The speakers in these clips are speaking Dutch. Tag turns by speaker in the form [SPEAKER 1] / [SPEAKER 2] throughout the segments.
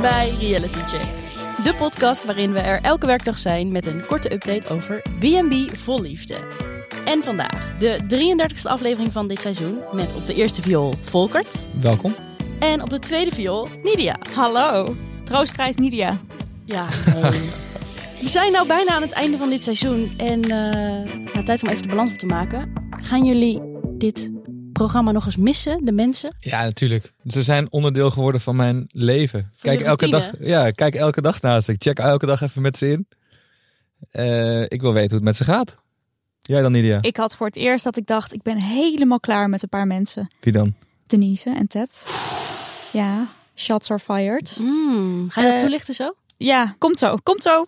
[SPEAKER 1] bij Reality Check. De podcast waarin we er elke werkdag zijn met een korte update over B&B vol liefde. En vandaag de 33e aflevering van dit seizoen met op de eerste viool Volkert
[SPEAKER 2] Welkom.
[SPEAKER 1] en op de tweede viool Nidia.
[SPEAKER 3] Hallo. Troostprijs Nidia.
[SPEAKER 1] Ja, nee. We zijn nou bijna aan het einde van dit seizoen en eh, nou, tijd om even de balans op te maken. Gaan jullie dit programma nog eens missen, de mensen?
[SPEAKER 2] Ja, natuurlijk. Ze zijn onderdeel geworden van mijn leven. Kijk
[SPEAKER 1] je
[SPEAKER 2] elke, dag,
[SPEAKER 1] routine?
[SPEAKER 2] ja, kijk elke dag naar ze. Ik check elke dag even met ze in. Eh, ik wil weten hoe het met ze gaat. Jij dan, Nidia?
[SPEAKER 3] Ik had voor het eerst dat ik dacht, ik ben helemaal klaar met een paar mensen.
[SPEAKER 2] Wie dan?
[SPEAKER 3] Denise en Ted. Ja, shots are fired.
[SPEAKER 1] Hmm, ga je dat
[SPEAKER 3] Eh,
[SPEAKER 1] toelichten zo?
[SPEAKER 3] Ja, komt zo, komt zo.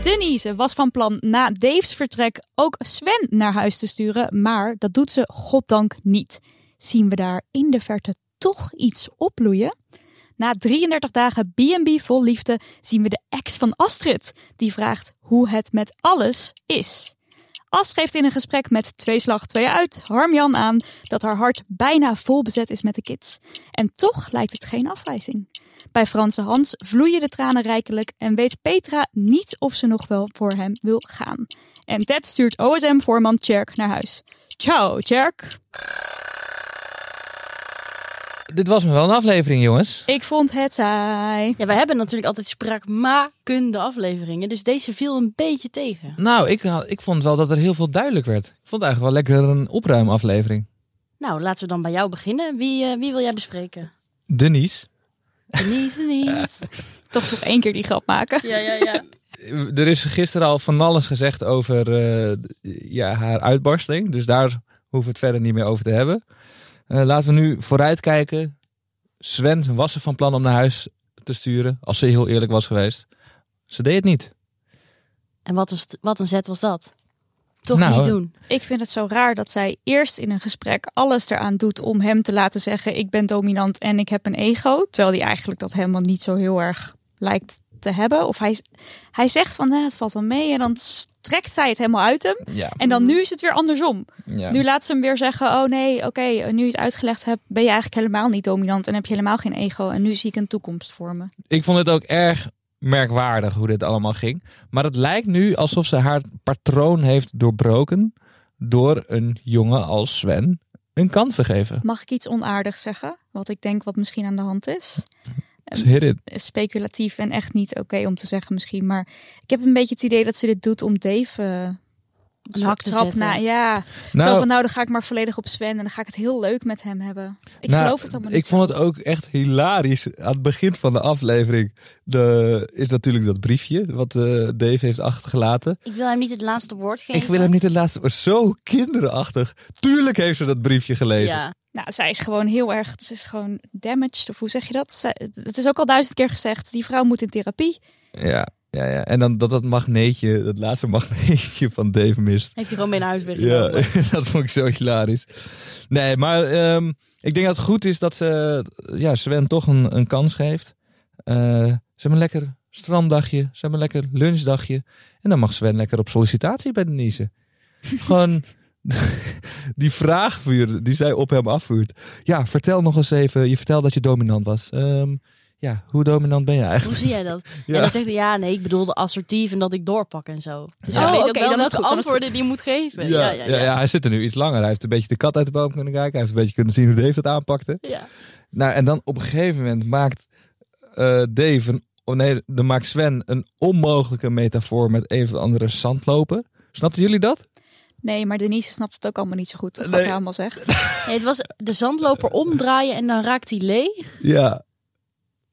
[SPEAKER 3] Denise was van plan na Dave's vertrek ook Sven naar huis te sturen, maar dat doet ze goddank niet. Zien we daar in de verte toch iets opbloeien? Na 33 dagen B&B vol liefde zien we de ex van Astrid, die vraagt hoe het met alles is. As geeft in een gesprek met Twee Slag Twee Uit Harmjan aan dat haar hart bijna vol bezet is met de kids. En toch lijkt het geen afwijzing. Bij Franse Hans vloeien de tranen rijkelijk en weet Petra niet of ze nog wel voor hem wil gaan. En Ted stuurt OSM-voorman Tjerk naar huis. Ciao, Tjerk.
[SPEAKER 2] Dit was me wel een aflevering, jongens.
[SPEAKER 3] Ik vond het saai.
[SPEAKER 1] Ja, we hebben natuurlijk altijd spraakmakende afleveringen. Dus deze viel een beetje tegen.
[SPEAKER 2] Nou, ik, had- ik vond wel dat er heel veel duidelijk werd. Ik vond het eigenlijk wel lekker een opruimaflevering.
[SPEAKER 1] Nou, laten we dan bij jou beginnen. Wie, eh, wie wil jij bespreken?
[SPEAKER 2] Denise.
[SPEAKER 1] Denise, Denise.
[SPEAKER 3] Toch nog één keer die grap maken.
[SPEAKER 1] Ja, ja, ja.
[SPEAKER 2] Er is gisteren al van alles gezegd over eh, ja, haar uitbarsting. Dus daar hoeven we het verder niet meer over te hebben. Eh, laten we nu vooruitkijken. Sven was er van plan om naar huis te sturen. Als ze heel eerlijk was geweest. Ze deed het niet.
[SPEAKER 1] En wat, is, wat een zet was dat? Toch
[SPEAKER 2] Nou,
[SPEAKER 1] niet doen.
[SPEAKER 3] Ik vind het zo raar dat zij eerst in een gesprek alles eraan doet om hem te laten zeggen: Ik ben dominant en ik heb een ego. Terwijl hij eigenlijk dat helemaal niet zo heel erg lijkt te hebben. Of hij, hij zegt van "Nou, het valt wel mee en dan strekt zij het helemaal uit hem.
[SPEAKER 2] Ja.
[SPEAKER 3] En dan nu is het weer andersom.
[SPEAKER 2] ja.
[SPEAKER 3] Nu laat ze hem weer zeggen: Oh nee, oké, nu je het uitgelegd hebt, ben je eigenlijk helemaal niet dominant en heb je helemaal geen ego. En nu zie ik een toekomst voor me.
[SPEAKER 2] Ik vond het ook erg merkwaardig hoe dit allemaal ging. Maar het lijkt nu alsof ze haar patroon heeft doorbroken. Door een jongen als Sven een kans te geven.
[SPEAKER 3] Mag ik iets onaardigs zeggen? Wat ik denk wat misschien aan de hand is. Ehm,
[SPEAKER 2] Hit it.
[SPEAKER 3] is speculatief en echt niet oké om te zeggen misschien. Maar ik heb een beetje het idee dat ze dit doet om Dave eh, een
[SPEAKER 1] hak te
[SPEAKER 3] haktrap
[SPEAKER 1] zetten.
[SPEAKER 3] na. Ja,
[SPEAKER 2] Nou,
[SPEAKER 3] zo van nou dan ga ik maar volledig op Sven en dan ga ik het heel leuk met hem hebben. Ik
[SPEAKER 2] Nou,
[SPEAKER 3] geloof het allemaal niet.
[SPEAKER 2] Ik vond het ook echt hilarisch. Aan het begin van de aflevering de, is natuurlijk dat briefje wat eh, Dave heeft achtergelaten.
[SPEAKER 1] Ik wil hem niet het laatste woord geven.
[SPEAKER 2] Ik wil hem niet het laatste, maar zo kinderachtig. Tuurlijk heeft ze dat briefje gelezen.
[SPEAKER 1] Ja.
[SPEAKER 3] Nou, zij is gewoon heel erg, ze is gewoon damaged of hoe zeg je dat? Zij- het is ook al duizend keer gezegd, die vrouw moet in therapie.
[SPEAKER 2] Ja, ja, ja. En dan dat, dat magneetje, dat laatste magneetje van Dave mist.
[SPEAKER 1] Heeft hij gewoon mee naar huis
[SPEAKER 2] Ja,
[SPEAKER 1] weggenomen.
[SPEAKER 2] dat vond ik zo hilarisch. Nee, maar ehm, ik denk dat het goed is dat ze ja, Sven toch een, een kans geeft. Eh, ze hebben een lekker stranddagje, ze hebben een lekker lunchdagje. En dan mag Sven lekker op sollicitatie bij Denise. Gewoon die vraag vuren die zij op hem afvuurt. Ja, vertel nog eens even. Je vertelde dat je dominant was. Ehm, ja, hoe dominant ben je eigenlijk?
[SPEAKER 1] Hoe zie jij dat? En
[SPEAKER 2] Ja.
[SPEAKER 1] dan zegt hij, ja, nee, ik bedoelde assertief en dat ik doorpak en zo. Dus
[SPEAKER 2] Ja.
[SPEAKER 1] hij
[SPEAKER 3] Oh,
[SPEAKER 1] weet ook
[SPEAKER 3] oké,
[SPEAKER 1] wel
[SPEAKER 3] dan is het
[SPEAKER 1] welke
[SPEAKER 3] goed, dan is het
[SPEAKER 1] antwoorden die hij moet geven. Ja, ja, ja.
[SPEAKER 2] ja, hij zit er nu iets langer. Hij heeft een beetje de kat uit de boom kunnen kijken. Hij heeft een beetje kunnen zien hoe Dave dat aanpakte.
[SPEAKER 1] Ja.
[SPEAKER 2] Nou, en dan op een gegeven moment maakt eh, Dave, een, oh nee, dan maakt Sven een onmogelijke metafoor met een of de andere zandlopen. Snapten jullie dat?
[SPEAKER 3] Nee, maar Denise snapt het ook allemaal niet zo goed, wat
[SPEAKER 2] Nee.
[SPEAKER 3] ze allemaal zegt.
[SPEAKER 1] Nee, het was de zandloper omdraaien en dan raakt hij leeg.
[SPEAKER 2] Ja.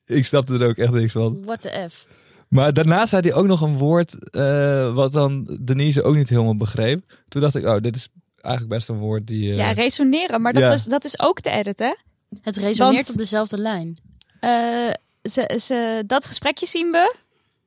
[SPEAKER 2] Ik snapte er ook echt niks van.
[SPEAKER 1] What the F.
[SPEAKER 2] Maar daarna zei hij ook nog een woord eh, wat dan Denise ook niet helemaal begreep. Toen dacht ik, oh, dit is eigenlijk best een woord die... eh,
[SPEAKER 3] Ja, resoneren, maar dat,
[SPEAKER 2] Ja.
[SPEAKER 3] was, dat is ook de edit hè?
[SPEAKER 1] Het resoneert
[SPEAKER 3] Want-
[SPEAKER 1] op dezelfde lijn.
[SPEAKER 3] Eh, ze, ze, dat gesprekje zien we.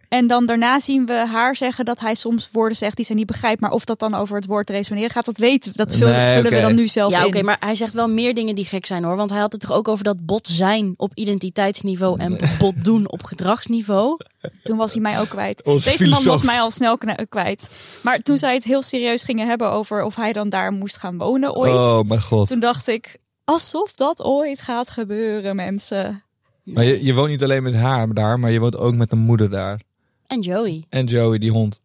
[SPEAKER 3] En dan daarna zien we haar zeggen dat hij soms woorden zegt die zij niet begrijpt. Maar of dat dan over het woord resoneren gaat, dat weten we. Dat vullen,
[SPEAKER 2] Nee,
[SPEAKER 3] vullen
[SPEAKER 2] oké.
[SPEAKER 3] we dan nu zelf
[SPEAKER 1] Ja,
[SPEAKER 3] in.
[SPEAKER 1] oké, maar hij zegt wel meer dingen die gek zijn hoor. Want hij had het toch ook over dat bot zijn op identiteitsniveau en bot doen op gedragsniveau.
[SPEAKER 3] Toen was hij mij ook kwijt.
[SPEAKER 2] Ons
[SPEAKER 3] Deze man
[SPEAKER 2] filosoof.
[SPEAKER 3] was mij al snel kna- kwijt. Maar toen zij het heel serieus gingen hebben over of hij dan daar moest gaan wonen ooit.
[SPEAKER 2] Oh mijn god.
[SPEAKER 3] Toen dacht ik, alsof dat ooit gaat gebeuren, mensen.
[SPEAKER 2] Maar je, je woont niet alleen met haar daar, maar je woont ook met een moeder daar.
[SPEAKER 1] En Joey.
[SPEAKER 2] En Joey, die hond.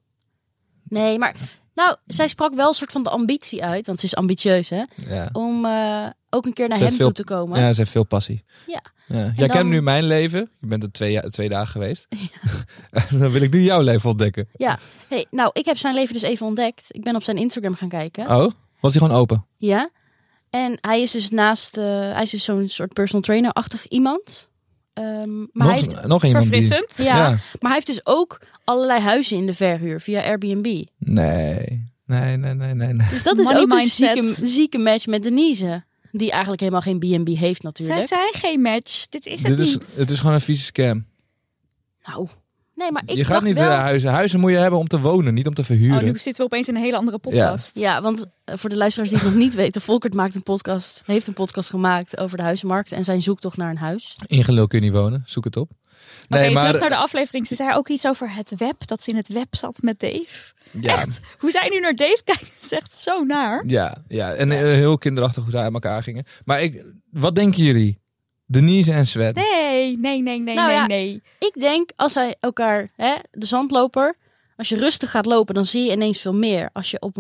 [SPEAKER 1] Nee, maar nou, zij sprak wel een soort van de ambitie uit, want ze is ambitieus hè,
[SPEAKER 2] Ja,
[SPEAKER 1] om eh, ook een keer naar
[SPEAKER 2] Ze
[SPEAKER 1] hem
[SPEAKER 2] heeft veel-
[SPEAKER 1] toe te komen.
[SPEAKER 2] ja ze heeft veel passie.
[SPEAKER 1] Ja.
[SPEAKER 2] Jij
[SPEAKER 1] dan-
[SPEAKER 2] kent nu mijn leven. Je bent er twee, ja- twee dagen geweest. dan wil ik nu jouw leven ontdekken.
[SPEAKER 1] Hey, nou, ik heb zijn leven dus even ontdekt. Ik ben op zijn Instagram gaan kijken.
[SPEAKER 2] Oh, was hij gewoon open?
[SPEAKER 1] Ja. En hij is dus naast, eh, hij is dus zo'n soort personal trainer-achtig iemand. Ehm, maar, hij
[SPEAKER 2] nog,
[SPEAKER 1] heeft,
[SPEAKER 2] nog iemand die...
[SPEAKER 3] Verfrissend.
[SPEAKER 1] ja, maar hij heeft dus ook allerlei huizen in de verhuur via Airbnb.
[SPEAKER 2] Nee. Nee, nee, nee, nee. nee.
[SPEAKER 1] Dus dat is
[SPEAKER 3] Money
[SPEAKER 1] ook een
[SPEAKER 3] mindset.
[SPEAKER 1] zieke, zieke match met Denise. Die eigenlijk helemaal geen B&B heeft natuurlijk.
[SPEAKER 3] Zij zijn geen match. Dit is het
[SPEAKER 2] Dit
[SPEAKER 3] niet. Oh,
[SPEAKER 2] is, het is gewoon een vieze scam.
[SPEAKER 1] Nou, nee, maar ik
[SPEAKER 2] je gaat
[SPEAKER 1] dacht
[SPEAKER 2] niet
[SPEAKER 1] wel...
[SPEAKER 2] naar huizen. Huizen moet je hebben om te wonen, niet om te
[SPEAKER 3] Oh,
[SPEAKER 2] verhuren.
[SPEAKER 3] nu zitten we opeens in een hele andere podcast.
[SPEAKER 1] Ja, want eh, voor de luisteraars die het nog niet weten, Volkert maakt een podcast, heeft een podcast gemaakt over de huizenmarkt en zijn zoektocht naar een huis.
[SPEAKER 2] Ingelul kun je niet wonen. Zoek het op.
[SPEAKER 3] Oké,
[SPEAKER 2] Nee, maar...
[SPEAKER 3] terug naar de aflevering. Ze zei ook iets over het web, dat ze in het web zat met Dave.
[SPEAKER 2] ja.
[SPEAKER 3] Echt, hoe zij nu naar Dave kijkt, is echt zo naar.
[SPEAKER 2] Ja, ja. en eh, heel kinderachtig hoe ze uit elkaar gingen. Maar ik, wat denken jullie? Denise en Sven.
[SPEAKER 3] Nee, nee, nee, nee,
[SPEAKER 1] Nou
[SPEAKER 3] nee,
[SPEAKER 1] ja.
[SPEAKER 3] nee.
[SPEAKER 1] Ik denk als zij elkaar, hè, de zandloper, als je rustig gaat lopen, dan zie je ineens veel meer. Als je op,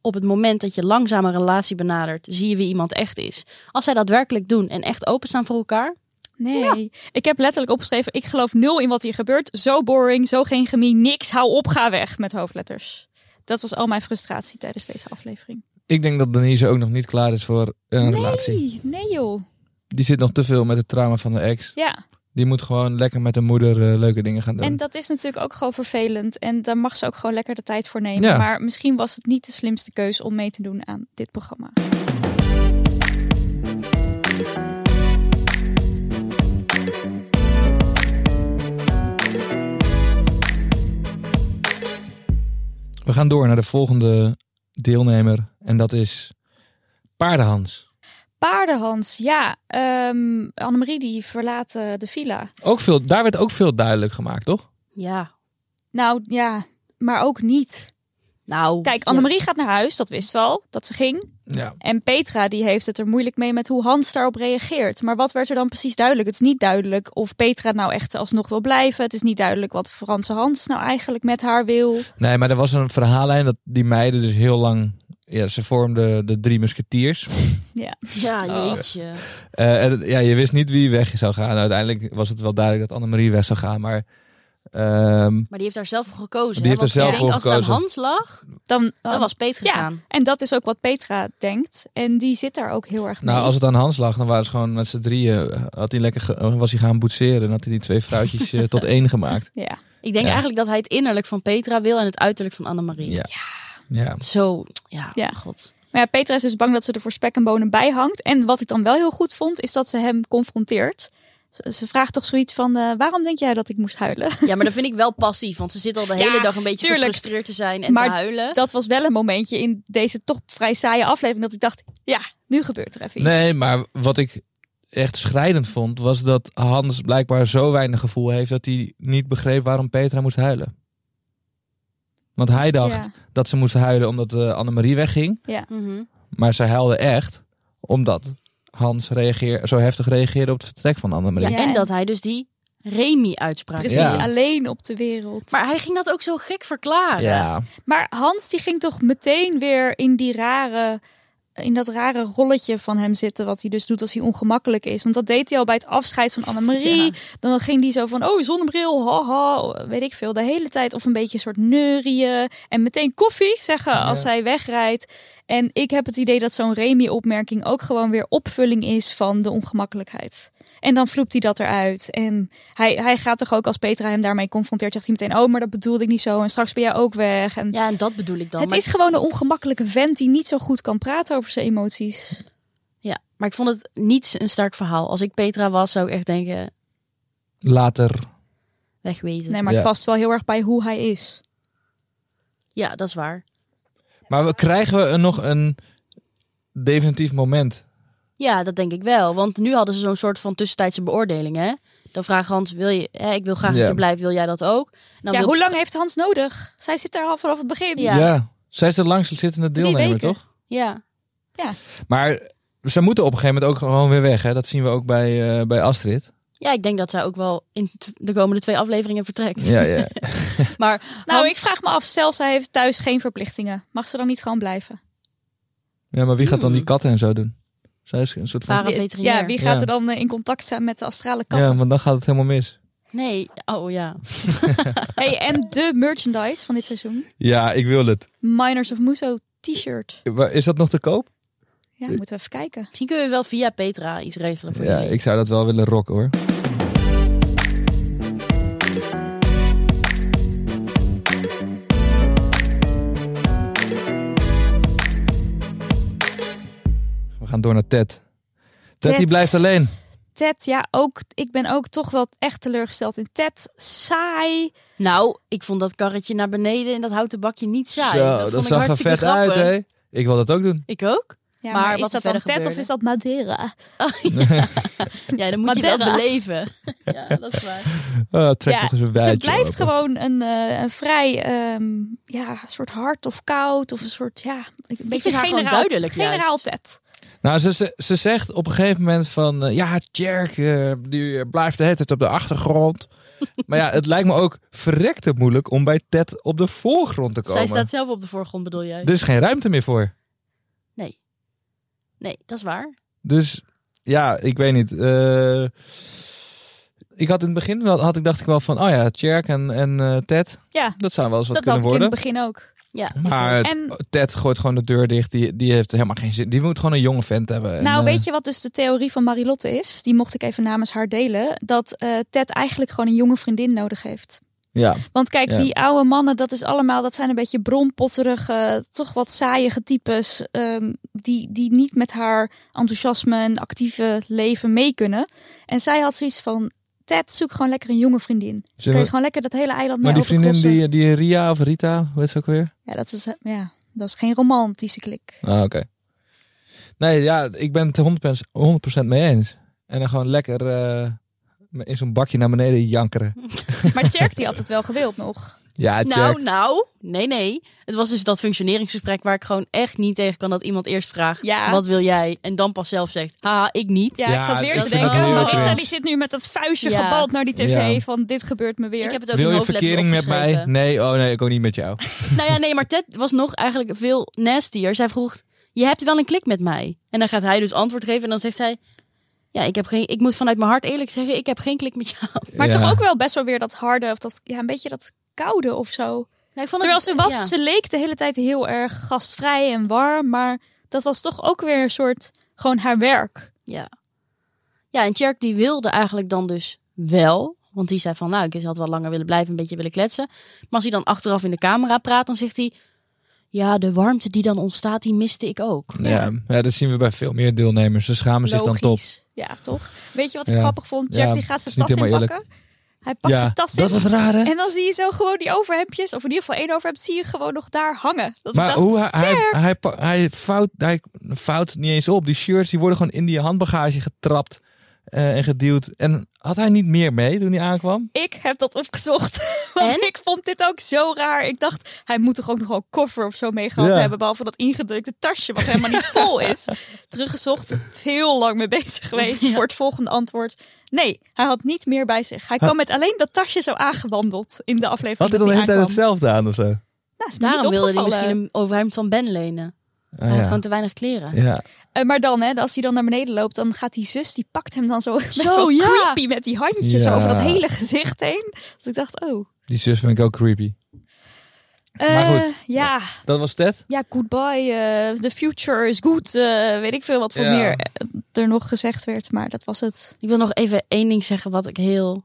[SPEAKER 1] op het moment dat je langzaam een relatie benadert, zie je wie iemand echt is. Als zij daadwerkelijk doen en echt openstaan voor elkaar,
[SPEAKER 3] Nee. Ik heb letterlijk opgeschreven, ik geloof nul in wat hier gebeurt. Zo boring, zo geen chemie, niks. Hou op, ga weg met hoofdletters. Dat was al mijn frustratie tijdens deze aflevering.
[SPEAKER 2] Ik denk dat Denise ook nog niet klaar is voor een relatie.
[SPEAKER 3] Nee, nee joh.
[SPEAKER 2] Die zit nog te veel met het trauma van de ex.
[SPEAKER 3] Ja,
[SPEAKER 2] Die moet gewoon lekker met haar moeder eh, leuke dingen gaan doen.
[SPEAKER 3] en dat is natuurlijk ook gewoon vervelend. En daar mag ze ook gewoon lekker de tijd voor nemen.
[SPEAKER 2] Ja.
[SPEAKER 3] Maar misschien was het niet de slimste keus om mee te doen aan dit programma.
[SPEAKER 2] We gaan door naar de volgende deelnemer. En dat is Paardenhans.
[SPEAKER 3] Paardenhans, ja. ehm Annemarie die verlaat eh, de villa.
[SPEAKER 2] Ook veel, daar werd ook veel duidelijk gemaakt, toch?
[SPEAKER 1] ja,
[SPEAKER 3] Nou ja, maar ook niet.
[SPEAKER 1] nou.
[SPEAKER 3] Kijk, Annemarie gaat naar huis, dat wist wel, dat ze ging.
[SPEAKER 2] Ja.
[SPEAKER 3] En Petra die heeft het er moeilijk mee met hoe Hans daarop reageert. Maar wat werd er dan precies duidelijk? Het is niet duidelijk of Petra nou echt alsnog wil blijven. Het is niet duidelijk wat Franse Hans nou eigenlijk met haar wil.
[SPEAKER 2] Nee, maar er was een verhaallijn dat die meiden dus heel lang... Ja, ze vormden de drie musketiers.
[SPEAKER 1] Ja,
[SPEAKER 3] Oh.
[SPEAKER 1] jeetje.
[SPEAKER 2] Eh, en, ja, je wist niet wie weg zou gaan. Uiteindelijk was het wel duidelijk dat Annemarie weg zou gaan. Maar ehm,
[SPEAKER 1] Maar die heeft daar zelf voor gekozen.
[SPEAKER 2] Die
[SPEAKER 1] hè?
[SPEAKER 2] heeft er
[SPEAKER 1] Want ik
[SPEAKER 2] zelf
[SPEAKER 1] denk,
[SPEAKER 2] voor
[SPEAKER 1] Als het
[SPEAKER 2] gekozen.
[SPEAKER 1] aan Hans lag,
[SPEAKER 3] Dan,
[SPEAKER 1] dan was Peter
[SPEAKER 3] Ja.
[SPEAKER 1] gegaan.
[SPEAKER 3] En dat is ook wat Petra denkt. En die zit daar ook heel erg mee.
[SPEAKER 2] nou, als het aan Hans lag, dan waren ze gewoon met z'n drieën. eh, Had hij lekker ge- was hij gaan boetseren en had hij die twee vrouwtjes eh, tot één gemaakt.
[SPEAKER 3] Ja.
[SPEAKER 1] Ik denk
[SPEAKER 2] Ja.
[SPEAKER 1] eigenlijk dat hij het innerlijk van Petra wil en het uiterlijk van Annemarie.
[SPEAKER 2] Ja. Ja.
[SPEAKER 1] Zo, ja,
[SPEAKER 3] Ja.
[SPEAKER 1] god.
[SPEAKER 3] Maar ja, Petra is dus bang dat ze er voor spek en bonen bij hangt. En wat ik dan wel heel goed vond, is dat ze hem confronteert. Ze, ze vraagt toch zoiets van, eh, waarom denk jij dat ik moest huilen?
[SPEAKER 1] Ja, maar dat vind ik wel passief, want ze zit al de
[SPEAKER 3] Ja,
[SPEAKER 1] hele dag een beetje
[SPEAKER 3] tuurlijk.
[SPEAKER 1] gefrustreerd te zijn en
[SPEAKER 3] Maar
[SPEAKER 1] te huilen.
[SPEAKER 3] Dat was wel een momentje in deze toch vrij saaie aflevering dat ik dacht, ja, nu gebeurt er even iets.
[SPEAKER 2] Nee, maar wat ik echt schrijnend vond, was dat Hans blijkbaar zo weinig gevoel heeft dat hij niet begreep waarom Petra moest huilen. Want hij dacht
[SPEAKER 3] Ja.
[SPEAKER 2] dat ze moest huilen omdat eh, Annemarie wegging.
[SPEAKER 1] Mhm.
[SPEAKER 2] Maar ze huilde echt omdat Hans reageer, zo heftig reageerde op het vertrek van Annemarie.
[SPEAKER 1] ja,
[SPEAKER 3] Ja,
[SPEAKER 1] en
[SPEAKER 3] en-
[SPEAKER 1] dat hij dus die Remy-uitspraak
[SPEAKER 3] Precies,
[SPEAKER 2] Ja.
[SPEAKER 3] alleen op de wereld.
[SPEAKER 1] Maar hij ging dat ook zo gek verklaren.
[SPEAKER 2] Ja,
[SPEAKER 3] Maar Hans die ging toch meteen weer in die rare in dat rare rolletje van hem zitten wat hij dus doet als hij ongemakkelijk is. Want dat deed hij al bij het afscheid van Annemarie.
[SPEAKER 1] Ja.
[SPEAKER 3] Dan ging hij zo van, oh, zonnebril, haha, weet ik veel. De hele tijd of een beetje een soort neurieën. En meteen koffie zeggen als
[SPEAKER 2] Ja.
[SPEAKER 3] hij wegrijdt. En ik heb het idee dat zo'n Remy-opmerking ook gewoon weer opvulling is van de ongemakkelijkheid. En dan vloept hij dat eruit. En hij, hij gaat toch ook, als Petra hem daarmee confronteert, zegt hij meteen, oh, maar dat bedoelde ik niet zo. En straks ben jij ook weg. En
[SPEAKER 1] Ja, en dat bedoel ik dan.
[SPEAKER 3] het
[SPEAKER 1] maar,
[SPEAKER 3] is gewoon een ongemakkelijke vent die niet zo goed kan praten over zijn emoties.
[SPEAKER 1] ja, maar ik vond het niet een sterk verhaal. Als ik Petra was, zou ik echt denken,
[SPEAKER 2] later.
[SPEAKER 1] wegwezen.
[SPEAKER 3] Nee, maar het
[SPEAKER 2] Ja.
[SPEAKER 3] past wel heel erg bij hoe hij is.
[SPEAKER 1] Ja, dat is waar.
[SPEAKER 2] Maar we, krijgen we een- nog een definitief moment?
[SPEAKER 1] Ja, dat denk ik wel. Want nu hadden ze zo'n soort van tussentijdse beoordeling, hè? Dan vraagt Hans, wil je, hè, ik wil graag
[SPEAKER 2] Ja.
[SPEAKER 1] dat je blijft, wil jij dat ook? En Dan
[SPEAKER 3] ja,
[SPEAKER 1] wil-
[SPEAKER 3] hoe lang heeft Hans nodig? Zij zit daar al vanaf het begin.
[SPEAKER 1] Ja.
[SPEAKER 2] Zij is de langst zittende
[SPEAKER 3] Drie
[SPEAKER 2] deelnemer,
[SPEAKER 3] weken.
[SPEAKER 2] toch?
[SPEAKER 1] Ja,
[SPEAKER 2] Maar ze moeten op een gegeven moment ook gewoon weer weg. Hè? Dat zien we ook bij, eh, bij Astrid.
[SPEAKER 1] Ja, ik denk dat zij ook wel in t- de komende twee afleveringen vertrekt.
[SPEAKER 2] Ja, ja.
[SPEAKER 1] Maar
[SPEAKER 3] Nou,
[SPEAKER 1] Hans-
[SPEAKER 3] ik vraag me af, stel zij heeft thuis geen verplichtingen. Mag ze dan niet gewoon blijven?
[SPEAKER 2] ja, maar wie gaat dan die
[SPEAKER 1] Hmm.
[SPEAKER 2] katten en zo doen? Zij is een soort van...
[SPEAKER 1] Para veterinair.
[SPEAKER 3] Ja, wie gaat
[SPEAKER 2] Ja.
[SPEAKER 3] er dan eh, in contact staan met de astrale
[SPEAKER 2] Ja,
[SPEAKER 3] katten?
[SPEAKER 2] want dan gaat het helemaal mis.
[SPEAKER 1] Nee, oh ja.
[SPEAKER 3] Hey, en de merchandise van dit seizoen.
[SPEAKER 2] Ja, ik wil het.
[SPEAKER 3] Miners of Muso t-shirt.
[SPEAKER 2] Maar Is dat nog te koop?
[SPEAKER 3] Ja, moeten we even kijken.
[SPEAKER 1] Misschien kun je wel via Petra iets regelen voor
[SPEAKER 2] Ja,
[SPEAKER 1] jullie.
[SPEAKER 2] ik zou dat wel willen rocken hoor. We gaan door naar Ted. Ted,
[SPEAKER 3] Ted.
[SPEAKER 2] die blijft alleen.
[SPEAKER 3] Ted, ja, ook, ik ben ook toch wel echt teleurgesteld in Ted. Saai.
[SPEAKER 1] Nou, ik vond dat karretje naar beneden en dat houten bakje niet saai.
[SPEAKER 2] Zo,
[SPEAKER 1] dat
[SPEAKER 2] dat
[SPEAKER 1] vond ik
[SPEAKER 2] zag er
[SPEAKER 1] hartstikke
[SPEAKER 2] vet uit,
[SPEAKER 1] grappig.
[SPEAKER 2] hè? Ik wil dat ook doen.
[SPEAKER 1] Ik ook.
[SPEAKER 3] Ja,
[SPEAKER 1] Maar
[SPEAKER 3] maar,
[SPEAKER 1] wat
[SPEAKER 3] is
[SPEAKER 1] er
[SPEAKER 3] dat dan
[SPEAKER 1] verder
[SPEAKER 3] Ted of
[SPEAKER 1] gebeurde?
[SPEAKER 3] is dat Madeira?
[SPEAKER 1] Ja, dan moet je wel
[SPEAKER 3] Madeira.
[SPEAKER 1] beleven. ja, dat is waar.
[SPEAKER 2] Oh, trek
[SPEAKER 3] Ja,
[SPEAKER 2] nog eens een wijtje
[SPEAKER 3] Ze blijft
[SPEAKER 2] open.
[SPEAKER 3] gewoon een, eh, een vrij ehm, ja, soort hard of koud of een soort ja, een beetje
[SPEAKER 1] haar gewoon
[SPEAKER 3] generaal-
[SPEAKER 1] duidelijk
[SPEAKER 3] Generaal
[SPEAKER 1] juist.
[SPEAKER 3] Ted.
[SPEAKER 2] Nou, ze, ze, ze zegt op een gegeven moment van... eh, ja, Jerk, eh, die eh, blijft de hele tijd op de achtergrond. maar ja, het lijkt me ook verrekte moeilijk om bij Ted op de voorgrond te komen.
[SPEAKER 1] Zij staat zelf op de voorgrond, bedoel jij?
[SPEAKER 2] Er is geen ruimte meer voor.
[SPEAKER 1] Nee. Nee, dat is waar.
[SPEAKER 2] Dus ja, ik weet niet. Eh, ik had in het begin wel, had ik, dacht ik wel van... Oh ja, Jerk en, en eh, Ted,
[SPEAKER 3] Ja,
[SPEAKER 2] dat zou wel eens wat
[SPEAKER 3] dat had
[SPEAKER 2] kunnen
[SPEAKER 3] ik in het
[SPEAKER 2] worden.
[SPEAKER 3] begin ook.
[SPEAKER 1] Ja.
[SPEAKER 2] Maar
[SPEAKER 3] En
[SPEAKER 2] Ted gooit gewoon de deur dicht. Die, die heeft helemaal geen zin. Die moet gewoon een jonge vent hebben.
[SPEAKER 3] nou,
[SPEAKER 2] en, eh,
[SPEAKER 3] weet je wat dus de theorie van Marilotte is? Die mocht ik even namens haar delen. Dat eh, Ted eigenlijk gewoon een jonge vriendin nodig heeft.
[SPEAKER 2] Ja,
[SPEAKER 3] Want kijk,
[SPEAKER 2] Ja.
[SPEAKER 3] die oude mannen, dat is allemaal, dat zijn een beetje brompotterige, toch wat saaiige types. ehm, die, die niet met haar enthousiasme en actieve leven mee kunnen. En zij had zoiets van. Ted, zoek gewoon lekker een jonge vriendin.
[SPEAKER 2] zullen
[SPEAKER 3] Kun je
[SPEAKER 2] we-
[SPEAKER 3] gewoon lekker dat hele eiland mee
[SPEAKER 2] maar die vriendin,
[SPEAKER 3] overkrossen.
[SPEAKER 2] die, die Ria of Rita, hoe heet ze ook weer?
[SPEAKER 3] Ja, dat is, ja, dat is geen romantische klik.
[SPEAKER 2] Ah, oké. Nee, ja, ik ben het 100%, 100 mee eens. En dan gewoon lekker eh, in zo'n bakje naar beneden jankeren.
[SPEAKER 3] Maar Tjerk, die had het wel gewild nog.
[SPEAKER 2] Ja,
[SPEAKER 1] Nou,
[SPEAKER 2] Jack.
[SPEAKER 1] nou, nee, nee. Het was dus dat functioneringsgesprek waar ik gewoon echt niet tegen kan dat iemand eerst vraagt:
[SPEAKER 3] Ja.
[SPEAKER 1] wat wil jij? En dan pas zelf zegt: ha, ik niet.
[SPEAKER 3] Ja,
[SPEAKER 2] Ja,
[SPEAKER 3] ik zat weer
[SPEAKER 2] dat
[SPEAKER 3] te
[SPEAKER 2] vind ik
[SPEAKER 3] denken. oh,
[SPEAKER 2] heel
[SPEAKER 3] Marissa,
[SPEAKER 2] cringe.
[SPEAKER 3] die zit nu met dat vuistje
[SPEAKER 1] Ja.
[SPEAKER 3] gebald naar die tv.
[SPEAKER 2] Ja.
[SPEAKER 3] Van dit gebeurt me weer.
[SPEAKER 1] Ik heb het ook
[SPEAKER 2] Wil
[SPEAKER 1] in
[SPEAKER 2] je
[SPEAKER 1] hoofdletters
[SPEAKER 2] verkering met mij?
[SPEAKER 1] opgeschreven.
[SPEAKER 2] Nee, oh nee, ik ook niet met jou.
[SPEAKER 1] Nou ja, nee, maar Ted was nog eigenlijk veel nastier. Zij vroeg: Je hebt wel een klik met mij. En dan gaat hij dus antwoord geven. En dan zegt zij: Ja, ik, heb geen, ik moet vanuit mijn hart eerlijk zeggen: Ik heb geen klik met jou.
[SPEAKER 3] Maar
[SPEAKER 2] Ja.
[SPEAKER 3] toch ook wel best wel weer dat harde. Of dat, ja, een beetje dat koude of zo.
[SPEAKER 1] Nou, ik vond
[SPEAKER 3] Terwijl
[SPEAKER 1] het-
[SPEAKER 3] ze was,
[SPEAKER 1] ja.
[SPEAKER 3] ze leek de hele tijd heel erg gastvrij en warm. Maar dat was toch ook weer een soort, gewoon haar werk.
[SPEAKER 1] Ja. Ja, en Tjerk die wilde eigenlijk dan dus wel. Want die zei van, nou, ik had wel langer willen blijven, een beetje willen kletsen. Maar als hij dan achteraf in de camera praat, dan zegt hij... Ja, de warmte die dan ontstaat, die miste ik ook.
[SPEAKER 2] Ja. ja, dat zien we bij veel meer deelnemers. Ze schamen zich dan top.
[SPEAKER 3] Logisch. Ja, toch? Weet je wat ik
[SPEAKER 2] Ja.
[SPEAKER 3] grappig vond? Jack
[SPEAKER 2] Ja,
[SPEAKER 3] die gaat
[SPEAKER 2] het
[SPEAKER 3] zijn
[SPEAKER 2] is niet
[SPEAKER 3] tas
[SPEAKER 2] helemaal
[SPEAKER 3] inpakken. Hij pakt
[SPEAKER 2] Ja,
[SPEAKER 3] zijn tas in.
[SPEAKER 2] dat was raar, hè?
[SPEAKER 3] En dan zie je zo gewoon die overhemdjes, of in ieder geval één overhemd, zie je gewoon nog daar hangen. Dat ik
[SPEAKER 2] Maar
[SPEAKER 3] dacht,
[SPEAKER 2] hoe hij, hij,
[SPEAKER 3] Jack!
[SPEAKER 2] hij, pa- hij, fout, hij fout niet eens op. Die shirts die worden gewoon in die handbagage getrapt eh, en geduwd. En had hij niet meer mee toen hij aankwam?
[SPEAKER 3] Ik heb dat opgezocht. Want
[SPEAKER 1] En?
[SPEAKER 3] ik vond dit ook zo raar. Ik dacht, hij moet toch ook nog wel een koffer of zo mee gehad
[SPEAKER 2] Ja.
[SPEAKER 3] hebben. Behalve dat ingedrukte tasje, wat helemaal niet vol is. Teruggezocht, heel lang mee bezig geweest
[SPEAKER 1] Ja.
[SPEAKER 3] voor het volgende antwoord. Nee, hij had niet meer bij zich. Hij kwam met alleen dat tasje zo aangewandeld in de aflevering.
[SPEAKER 2] Had hij dan
[SPEAKER 3] dat
[SPEAKER 2] de hele tijd
[SPEAKER 3] aankwam.
[SPEAKER 2] hetzelfde aan of zo?
[SPEAKER 3] Nou, is me
[SPEAKER 1] Daarom
[SPEAKER 3] niet
[SPEAKER 1] wilde hij
[SPEAKER 3] opgevallen.
[SPEAKER 1] misschien een overhemd van Ben lenen.
[SPEAKER 2] Ah,
[SPEAKER 1] hij had
[SPEAKER 2] ja.
[SPEAKER 1] gewoon te weinig kleren.
[SPEAKER 2] ja.
[SPEAKER 3] Eh, maar dan, hè, als hij dan naar beneden loopt, dan gaat die zus, die pakt hem dan zo best
[SPEAKER 1] Zo,
[SPEAKER 3] wel
[SPEAKER 1] ja.
[SPEAKER 3] creepy met die handjes zo
[SPEAKER 2] Ja.
[SPEAKER 3] over dat hele gezicht heen. Dat ik dacht, oh.
[SPEAKER 2] Die zus vind ik ook creepy.
[SPEAKER 3] Eh,
[SPEAKER 2] Maar goed.
[SPEAKER 3] Ja,
[SPEAKER 2] Dat was Ted.
[SPEAKER 3] ja, goodbye. eh, the future is good. eh, weet ik veel wat voor
[SPEAKER 2] Ja.
[SPEAKER 3] meer eh, er nog gezegd werd. Maar dat was het.
[SPEAKER 1] Ik wil nog even één ding zeggen wat ik heel,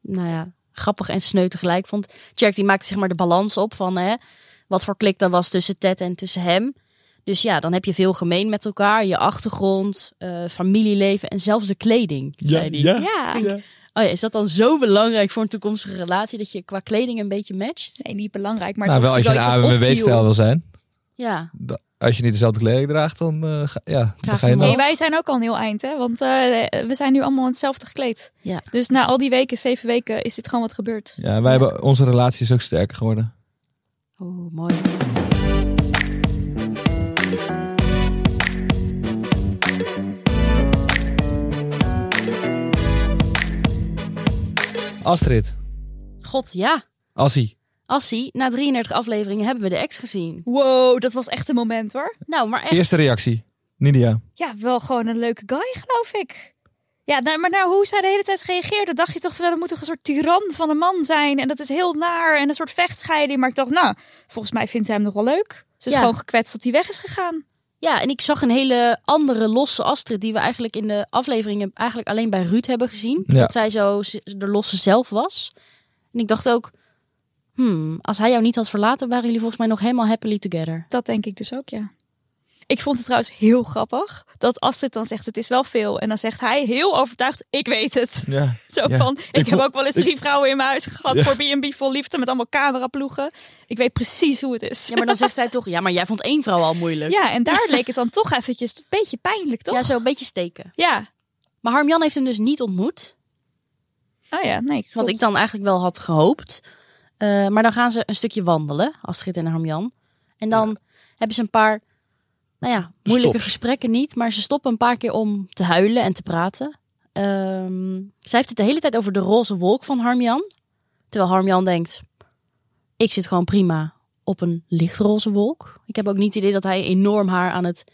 [SPEAKER 1] nou ja, grappig en sneu tegelijk vond. Jack die maakte zeg maar de balans op van hè, wat voor klik dat was tussen Ted en tussen hem. Dus ja, dan heb je veel gemeen met elkaar. Je achtergrond, eh, familieleven en zelfs de kleding, zei die.
[SPEAKER 3] Ja.
[SPEAKER 2] Nou,
[SPEAKER 1] Ik denk, Oh ja, is dat dan zo belangrijk voor een toekomstige relatie dat je qua kleding een beetje matcht?
[SPEAKER 3] Nee, niet belangrijk, maar
[SPEAKER 2] nou,
[SPEAKER 1] dus
[SPEAKER 2] wel
[SPEAKER 3] dat is
[SPEAKER 2] als je een
[SPEAKER 3] natuurlijk wel iets wat
[SPEAKER 2] AWB-stijl
[SPEAKER 3] opviel.
[SPEAKER 2] wil zijn.
[SPEAKER 1] Ja.
[SPEAKER 2] Da- Als je niet dezelfde kleding draagt, dan eh, ga, ja, dan
[SPEAKER 1] Graag
[SPEAKER 2] ga je
[SPEAKER 1] wel.
[SPEAKER 3] Nee,
[SPEAKER 2] nog.
[SPEAKER 3] wij zijn ook al een heel eind, hè? Want eh, we zijn nu allemaal hetzelfde gekleed.
[SPEAKER 1] Ja.
[SPEAKER 3] Dus na al die weken, zeven weken, is dit gewoon wat gebeurd.
[SPEAKER 2] Ja, wij hebben onze relatie is ook sterker geworden.
[SPEAKER 1] Oh, mooi.
[SPEAKER 2] Astrid,
[SPEAKER 1] God, ja.
[SPEAKER 2] Assie.
[SPEAKER 1] Assie, na 33 afleveringen hebben we de ex gezien.
[SPEAKER 3] Wow, dat was echt een moment hoor.
[SPEAKER 1] Nou, maar echt.
[SPEAKER 2] Eerste reactie. Nidia.
[SPEAKER 3] Ja, wel gewoon een leuke guy, geloof ik. Ja, nou, maar nou, hoe zij de hele tijd reageerde, dacht je toch van, nou, dat moet toch een soort tiran van een man zijn. En dat is heel naar en een soort vechtscheiding. Maar ik dacht, nou, volgens mij vindt zij hem nog wel leuk. Ze is
[SPEAKER 1] Ja.
[SPEAKER 3] gewoon gekwetst dat hij weg is gegaan.
[SPEAKER 1] Ja, en ik zag een hele andere losse Astrid die we eigenlijk in de afleveringen eigenlijk alleen bij Ruud hebben gezien.
[SPEAKER 2] Ja.
[SPEAKER 1] Dat zij zo z- de losse zelf was. En ik dacht ook, hmm, als hij jou niet had verlaten, waren jullie volgens mij nog helemaal happily together.
[SPEAKER 3] Dat denk ik dus ook, ja. Ik vond het trouwens heel grappig dat Astrid dan zegt, het is wel veel. En dan zegt hij heel overtuigd, ik weet het.
[SPEAKER 2] Ja.
[SPEAKER 3] Zo
[SPEAKER 2] Ja,
[SPEAKER 3] van, ik, heb
[SPEAKER 2] vond-
[SPEAKER 3] ook wel eens drie vrouwen in mijn huis gehad
[SPEAKER 2] Ja.
[SPEAKER 3] voor B&B vol liefde met allemaal cameraploegen. Ik weet precies hoe het is.
[SPEAKER 1] Ja, maar dan zegt zij toch, ja, maar jij vond één vrouw al moeilijk.
[SPEAKER 3] Ja, en daar leek het dan toch eventjes een beetje pijnlijk, toch?
[SPEAKER 1] ja zo een beetje steken.
[SPEAKER 3] Ja.
[SPEAKER 1] Maar Harmjan heeft hem dus niet ontmoet.
[SPEAKER 3] Oh ja, nee.
[SPEAKER 1] Wat
[SPEAKER 3] klopt.
[SPEAKER 1] ik dan eigenlijk wel had gehoopt. Eh, maar dan gaan ze een stukje wandelen, Astrid en Harmjan. En dan hebben ze een paar, nou ja, moeilijke
[SPEAKER 2] Stops.
[SPEAKER 1] gesprekken niet. Maar ze stoppen een paar keer om te huilen en te praten. Ehm, zij heeft het de hele tijd over de roze wolk van Harmjan. Terwijl Harmjan denkt, ik zit gewoon prima op een lichtroze wolk. Ik heb ook niet het idee dat hij enorm haar aan het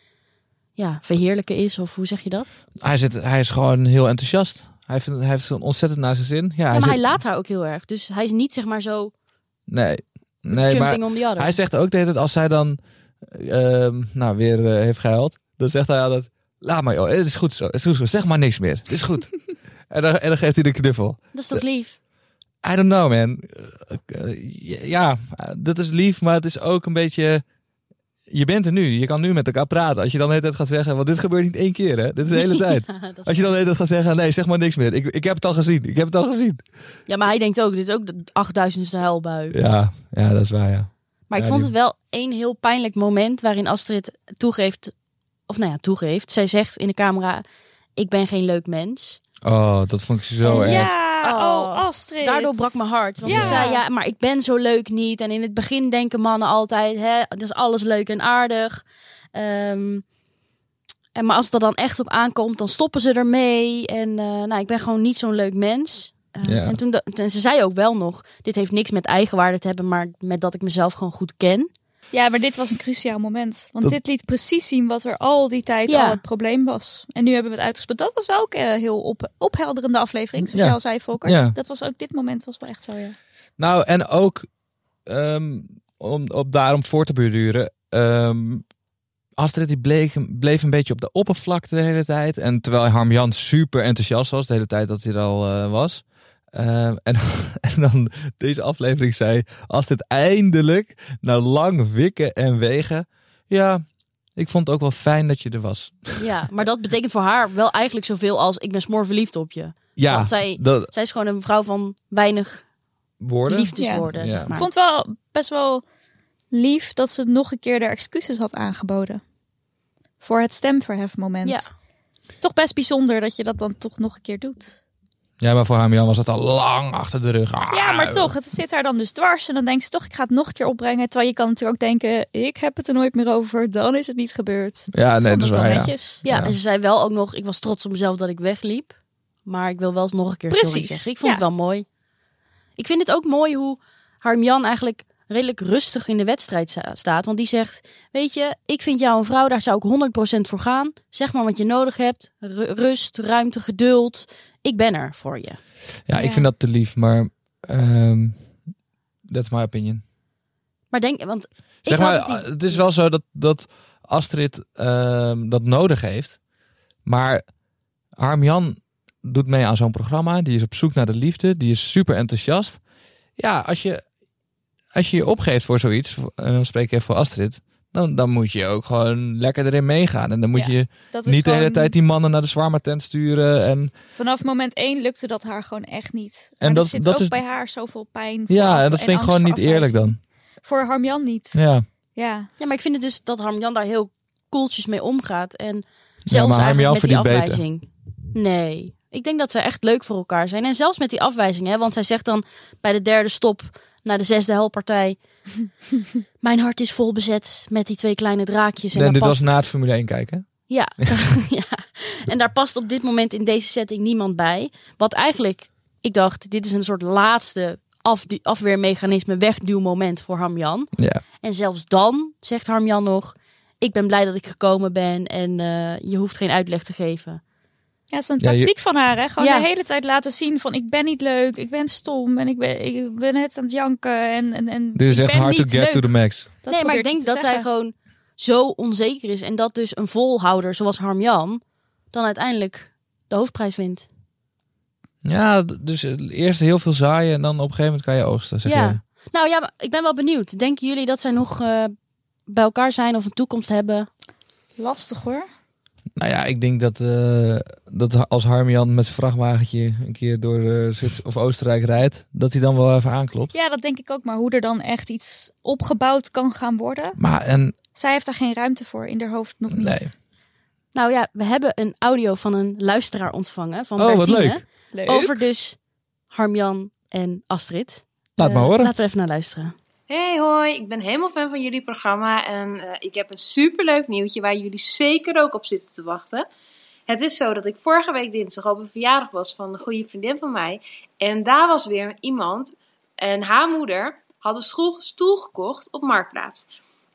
[SPEAKER 1] ja, verheerlijken is. Of hoe zeg je dat?
[SPEAKER 2] Hij, zit, hij is gewoon heel enthousiast. Hij, vindt, hij heeft zo'n ontzettend naar zijn zin. Ja,
[SPEAKER 1] Ja,
[SPEAKER 2] hij
[SPEAKER 1] maar
[SPEAKER 2] zit-
[SPEAKER 1] hij laat haar ook heel erg. Dus hij is niet zeg maar zo
[SPEAKER 2] Nee, nee maar
[SPEAKER 1] jumping on the other.
[SPEAKER 2] hij zegt ook de hele tijd als zij dan ehm, nou, weer eh, heeft gehuild. Dan zegt hij altijd, laat maar joh, het is goed zo. Het is goed zo. Zeg maar niks meer. Het is goed. en, dan, en dan geeft hij de knuffel.
[SPEAKER 1] Dat is toch lief?
[SPEAKER 2] I don't know man. Eh, eh, ja, eh, dat is lief, maar het is ook een beetje... Je bent er nu. Je kan nu met elkaar praten. Als je dan de hele tijd gaat zeggen, want dit gebeurt niet één keer hè. Dit is de hele tijd.
[SPEAKER 1] Ja, dat is
[SPEAKER 2] Als je dan de hele tijd gaat zeggen, nee zeg maar niks meer. Ik, ik heb het al gezien. Ik heb het al gezien.
[SPEAKER 1] waar. ja, maar hij denkt ook, dit is ook de 8000ste huilbui.
[SPEAKER 2] Ja, ja dat is waar, ja.
[SPEAKER 1] maar ik
[SPEAKER 2] ja,
[SPEAKER 1] vond
[SPEAKER 2] die-
[SPEAKER 1] het wel één heel pijnlijk moment waarin Astrid toegeeft, of nou ja, toegeeft. Zij zegt in de camera, ik ben geen leuk mens.
[SPEAKER 2] Oh, dat vond ik zo erg.
[SPEAKER 3] Ja, oh,
[SPEAKER 1] Oh.
[SPEAKER 3] Astrid.
[SPEAKER 1] Daardoor brak mijn hart. Want
[SPEAKER 3] Ja.
[SPEAKER 1] ze zei, ja, maar ik ben zo leuk niet. En in het begin denken mannen altijd, hè, dat is alles leuk en aardig. Ehm, en maar als het er dan echt op aankomt, dan stoppen ze ermee. En eh, nou, ik ben gewoon niet zo'n leuk mens. Eh,
[SPEAKER 2] Ja.
[SPEAKER 1] en, toen de- en ze zei ook wel nog, dit heeft niks met eigenwaarde te hebben, maar met dat ik mezelf gewoon goed ken.
[SPEAKER 3] Ja, maar dit was een cruciaal moment. Want
[SPEAKER 2] Dat-
[SPEAKER 3] dit liet precies zien wat er al die tijd
[SPEAKER 1] Ja.
[SPEAKER 3] al het probleem was. En nu hebben we het uitgespeeld. Dat was wel ook eh, heel op ophelderende aflevering, zoals
[SPEAKER 2] Ja.
[SPEAKER 3] jij al zei, Volkert.
[SPEAKER 2] Ja.
[SPEAKER 3] Dat was ook dit moment was wel echt zo, ja.
[SPEAKER 2] Nou, en ook ehm, om op daarom voor te beduren. ehm, Astrid die bleek, bleef een beetje op de oppervlakte de hele tijd. En terwijl Harmjan super enthousiast was de hele tijd dat hij er al eh, was. Ehm, en, en dan deze aflevering zei Astrid eindelijk na lang wikken en wegen. Ja, ik vond het ook wel fijn dat je er was.
[SPEAKER 1] Ja, maar dat betekent voor haar wel eigenlijk zoveel als, ik ben smoor verliefd op je.
[SPEAKER 2] Ja,
[SPEAKER 1] Want zij-
[SPEAKER 2] dat
[SPEAKER 1] Zij is gewoon een vrouw van weinig
[SPEAKER 2] woorden.
[SPEAKER 1] liefdeswoorden,
[SPEAKER 2] Ja.
[SPEAKER 1] zeg maar.
[SPEAKER 3] Ik vond het wel best wel lief dat ze nog een keer de excuses had aangeboden. Voor het stemverhefmoment.
[SPEAKER 1] Ja.
[SPEAKER 3] Toch best bijzonder dat je dat dan toch nog een keer doet.
[SPEAKER 2] Ja, maar voor Harmjan was dat al lang achter de rug.
[SPEAKER 3] Ja, maar
[SPEAKER 2] Ah,
[SPEAKER 3] toch, het zit haar dan dus dwars. En dan denkt ze toch, ik ga het nog een keer opbrengen. Terwijl je kan natuurlijk ook denken, ik heb het er nooit meer over. Dan is het niet gebeurd.
[SPEAKER 2] Ja, nee,
[SPEAKER 3] Vond
[SPEAKER 2] dat is
[SPEAKER 3] het
[SPEAKER 2] waar.
[SPEAKER 3] wel
[SPEAKER 2] ja.
[SPEAKER 3] netjes.
[SPEAKER 1] Ja,
[SPEAKER 2] Ja.
[SPEAKER 1] en ze zei wel ook nog, ik was trots op mezelf dat ik wegliep. Maar ik wil wel eens nog een keer sorry
[SPEAKER 3] Precies,
[SPEAKER 1] zeggen. Ik vond
[SPEAKER 3] ja.
[SPEAKER 1] het wel mooi. Ik vind het ook mooi hoe Harmjan eigenlijk redelijk rustig in de wedstrijd sta- staat. Want die zegt, weet je, ik vind jou een vrouw, daar zou ik 100% voor gaan. Zeg maar wat je nodig hebt. Ru- rust, ruimte, geduld. Ik ben er voor je.
[SPEAKER 2] Ja,
[SPEAKER 3] Ja.
[SPEAKER 2] ik vind dat te lief, maar ehm that's my opinion.
[SPEAKER 1] Maar denk, want ik
[SPEAKER 2] Zeg
[SPEAKER 1] had
[SPEAKER 2] maar,
[SPEAKER 1] het idee-
[SPEAKER 2] het is wel zo dat, dat Astrid ehm, dat nodig heeft, maar Harmjan doet mee aan zo'n programma. Die is op zoek naar de liefde, die is super enthousiast. Ja, als je als je, je opgeeft voor zoiets, en dan spreek ik even voor Astrid, Dan, dan moet je ook gewoon lekker erin meegaan. En dan moet
[SPEAKER 3] Ja,
[SPEAKER 2] je
[SPEAKER 3] Dat is
[SPEAKER 2] niet de hele
[SPEAKER 3] gewoon-
[SPEAKER 2] tijd die mannen naar de zwaarma tent sturen. En
[SPEAKER 3] Vanaf moment één lukte dat haar gewoon echt niet.
[SPEAKER 2] En
[SPEAKER 3] En dat
[SPEAKER 2] dat-
[SPEAKER 3] zit
[SPEAKER 2] dat
[SPEAKER 3] ook
[SPEAKER 2] is-
[SPEAKER 3] bij haar zoveel pijn.
[SPEAKER 2] ja,
[SPEAKER 3] vooraf
[SPEAKER 2] en dat vind ik
[SPEAKER 3] angst
[SPEAKER 2] gewoon
[SPEAKER 3] voor
[SPEAKER 2] niet eerlijk
[SPEAKER 3] afwijzing.
[SPEAKER 2] dan.
[SPEAKER 3] Voor Harmjan niet.
[SPEAKER 2] Ja.
[SPEAKER 3] Ja.
[SPEAKER 1] Ja, maar ik vind het dus dat Harmjan daar heel koeltjes mee omgaat. En zelfs
[SPEAKER 2] maar Harmjan
[SPEAKER 1] eigenlijk met die
[SPEAKER 2] verdient beter.
[SPEAKER 1] afwijzing. Nee. Ik denk dat ze echt leuk voor elkaar zijn. En zelfs met die afwijzing, hè, want zij zegt dan bij de derde stop na de zesde helpartij. Mijn hart is vol bezet met die twee kleine draakjes. En
[SPEAKER 2] Nee,
[SPEAKER 1] daar
[SPEAKER 2] dit was
[SPEAKER 1] past...
[SPEAKER 2] na het Formule 1 kijken.
[SPEAKER 1] Ja. ja. En daar past op dit moment in deze setting niemand bij. Wat eigenlijk, ik dacht, dit is een soort laatste af afweermechanisme, wegduwmoment voor Harmjan.
[SPEAKER 2] Ja.
[SPEAKER 1] En zelfs dan zegt Harmjan nog: Ik ben blij dat ik gekomen ben en eh, je hoeft geen uitleg te geven.
[SPEAKER 3] Ja, dat is een
[SPEAKER 2] Ja, je-
[SPEAKER 3] tactiek van haar. Hè? Gewoon
[SPEAKER 1] Ja.
[SPEAKER 3] de hele tijd laten zien van ik ben niet leuk, ik ben stom en ik ben, ik ben net aan het janken. En, en, en
[SPEAKER 2] Dit is
[SPEAKER 3] ik
[SPEAKER 2] echt
[SPEAKER 3] ben
[SPEAKER 2] hard to
[SPEAKER 3] niet
[SPEAKER 2] get
[SPEAKER 3] leuk.
[SPEAKER 2] to the max.
[SPEAKER 3] Dat
[SPEAKER 1] nee, maar ik
[SPEAKER 3] probeert
[SPEAKER 1] denk
[SPEAKER 3] ze
[SPEAKER 1] dat
[SPEAKER 3] te
[SPEAKER 1] zij
[SPEAKER 3] zeggen.
[SPEAKER 1] gewoon zo onzeker is en dat dus een volhouder zoals Harmjan dan uiteindelijk de hoofdprijs wint.
[SPEAKER 2] Ja, d- dus eh, eerst heel veel zaaien en dan op een gegeven moment kan je oogsten. Zeg
[SPEAKER 1] Ja.
[SPEAKER 2] je.
[SPEAKER 1] Nou ja, maar ik ben wel benieuwd. Denken jullie dat zij nog eh, bij elkaar zijn of een toekomst hebben?
[SPEAKER 3] Lastig hoor.
[SPEAKER 2] Nou ja, ik denk dat, eh, dat als Harmian met zijn vrachtwagentje een keer door eh, Zwits- of Oostenrijk rijdt, dat hij dan wel even aanklopt.
[SPEAKER 3] Ja, dat denk ik ook. Maar hoe er dan echt iets opgebouwd kan gaan worden.
[SPEAKER 2] Maar en,
[SPEAKER 3] Zij heeft daar geen ruimte voor in haar hoofd nog niet.
[SPEAKER 2] Nee.
[SPEAKER 1] Nou ja, we hebben een audio van een luisteraar ontvangen van
[SPEAKER 2] oh, wat
[SPEAKER 1] Bertine
[SPEAKER 2] leuk.
[SPEAKER 3] Leuk.
[SPEAKER 1] over dus Harmjan en Astrid.
[SPEAKER 2] Laat
[SPEAKER 1] Eh,
[SPEAKER 2] maar horen.
[SPEAKER 1] Laten we even naar luisteren.
[SPEAKER 4] Hey hoi, ik ben helemaal fan van jullie programma en eh, ik heb een superleuk nieuwtje waar jullie zeker ook op zitten te wachten. Het is zo dat ik vorige week dinsdag op een verjaardag was van een goede vriendin van mij en daar was weer iemand en haar moeder had een school- stoel gekocht op Marktplaats.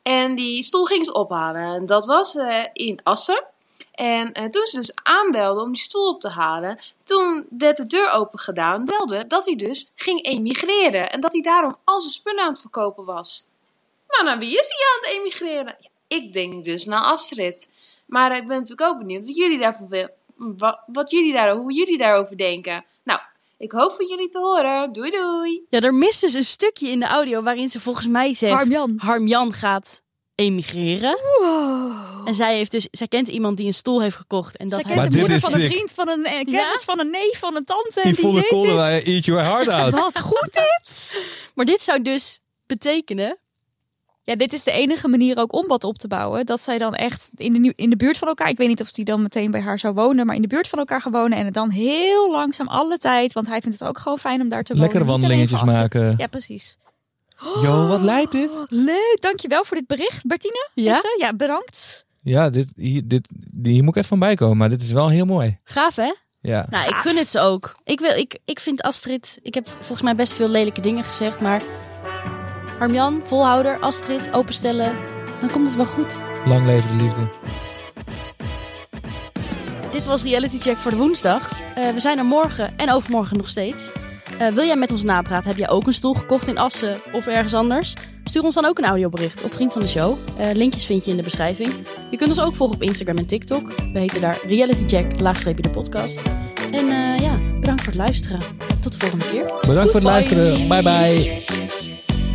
[SPEAKER 4] En die stoel ging ze ophalen en dat was eh, in Assen. En eh, toen ze dus aanbelde om die stoel op te halen, toen werd de deur open gedaan, belde dat hij dus ging emigreren. En dat hij daarom al zijn spullen aan het verkopen was. Maar naar wie is hij aan het emigreren? Ja, ik denk dus naar Astrid. Maar ik ben natuurlijk ook benieuwd wat jullie daarvan vinden. Wat, wat jullie daar, hoe jullie daarover denken. Nou, ik hoop van jullie te horen. Doei doei!
[SPEAKER 1] Ja, er mist dus een stukje in de audio waarin ze volgens mij zegt...
[SPEAKER 3] Harmjan.
[SPEAKER 1] Harmjan gaat emigreren. En zij, heeft dus, zij kent iemand die een stoel heeft gekocht. En dat
[SPEAKER 3] Zij
[SPEAKER 1] hij...
[SPEAKER 2] Maar
[SPEAKER 3] kent de
[SPEAKER 2] dit
[SPEAKER 3] moeder
[SPEAKER 2] is
[SPEAKER 3] van een
[SPEAKER 2] sick.
[SPEAKER 3] vriend, van een eh, kennis,
[SPEAKER 1] Ja?
[SPEAKER 3] van een neef, van een tante.
[SPEAKER 2] Die
[SPEAKER 3] en die
[SPEAKER 2] volle
[SPEAKER 3] weet
[SPEAKER 2] kolen,
[SPEAKER 3] dit.
[SPEAKER 2] wij eat your heart out.
[SPEAKER 3] Wat goed dit!
[SPEAKER 1] Maar dit zou dus betekenen...
[SPEAKER 3] Ja, dit is de enige manier ook om wat op te bouwen. Dat zij dan echt in de, nieuw- in de buurt van elkaar... Ik weet niet of die dan meteen bij haar zou wonen... maar in de buurt van elkaar gaan wonen. En het dan heel langzaam alle tijd... want hij vindt het ook gewoon fijn om daar te wonen.
[SPEAKER 2] Lekkere
[SPEAKER 3] niet alleen
[SPEAKER 2] wandelingetjes
[SPEAKER 3] voor Astrid.
[SPEAKER 2] maken.
[SPEAKER 3] Ja, precies. Oh,
[SPEAKER 2] Yo, wat lijkt dit?
[SPEAKER 3] Leuk, dankjewel voor dit bericht, Bertine.
[SPEAKER 1] Ja?
[SPEAKER 3] Heet ze? Ja, bedankt.
[SPEAKER 2] Ja, dit, hier, dit, die- hier moet ik even van bijkomen, maar dit is wel heel mooi.
[SPEAKER 1] Gaaf, hè?
[SPEAKER 2] Ja.
[SPEAKER 1] Nou, ik gun het ze ook. Ik, wil, ik, ik vind Astrid... Ik heb volgens mij best veel lelijke dingen gezegd, maar... Harmjan, volhouder, Astrid, openstellen. Dan komt het wel goed.
[SPEAKER 2] Lang leven de liefde.
[SPEAKER 1] Dit was Reality Check voor de woensdag. Eh, we zijn er morgen en overmorgen nog steeds. Eh, wil jij met ons napraten? Heb jij ook een stoel gekocht in Assen of ergens anders? Stuur ons dan ook een audiobericht op Vriend van de Show. Eh, linkjes vind je in de beschrijving. Je kunt ons ook volgen op Instagram en TikTok. We heten daar Reality Check, laagstreepje de podcast. En eh, ja, bedankt voor het luisteren. Tot de volgende keer.
[SPEAKER 2] Bedankt voor het
[SPEAKER 1] Goodbye.
[SPEAKER 2] luisteren. Bye bye.